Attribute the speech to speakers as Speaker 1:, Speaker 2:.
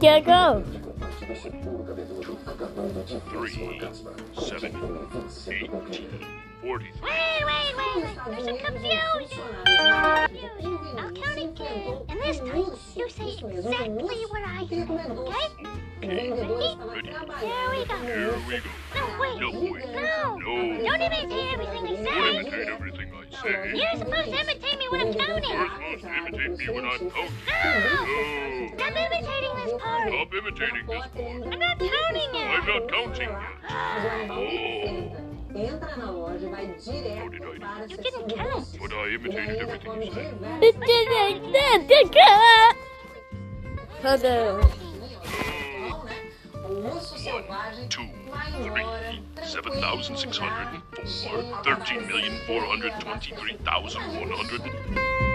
Speaker 1: can't go.
Speaker 2: Three, seven, eighteen, forty-three.
Speaker 3: Wait, wait, wait, wait. There's some confusion. Confusion. I'll count again. And this time, you say exactly what I said, okay?
Speaker 2: Okay.
Speaker 3: Ready? There we go.
Speaker 2: Here we go.
Speaker 3: No, wait.
Speaker 2: No way.
Speaker 3: No.
Speaker 2: No.
Speaker 3: Don't imitate everything I
Speaker 2: Don't
Speaker 3: say.
Speaker 2: imitate everything I say.
Speaker 3: You're supposed to imitate me when I'm
Speaker 2: You're
Speaker 3: counting.
Speaker 2: supposed to imitate me when I'm coach.
Speaker 3: No!
Speaker 2: No.
Speaker 3: Stop imitating this part.
Speaker 2: Stop imitating this boy.
Speaker 3: I'm not counting
Speaker 2: I'm
Speaker 3: it.
Speaker 2: not counting yet.
Speaker 4: Oh. Entra na loja, vai direto para a seção de doces.
Speaker 2: But I
Speaker 4: E
Speaker 2: imitated
Speaker 4: ainda
Speaker 2: everything
Speaker 4: come
Speaker 2: you said.
Speaker 1: It
Speaker 4: diversas
Speaker 1: didn't, it didn't count. Hello.
Speaker 4: Então, né? O urso selvagem
Speaker 2: two,
Speaker 4: vai embora,
Speaker 2: three, seven thousand six
Speaker 4: tranquilo, num
Speaker 2: hundred and
Speaker 4: lugar cheio
Speaker 2: four,
Speaker 4: de
Speaker 2: thirteen million four hundred
Speaker 4: abacate,
Speaker 2: twenty-three thousand one hundred.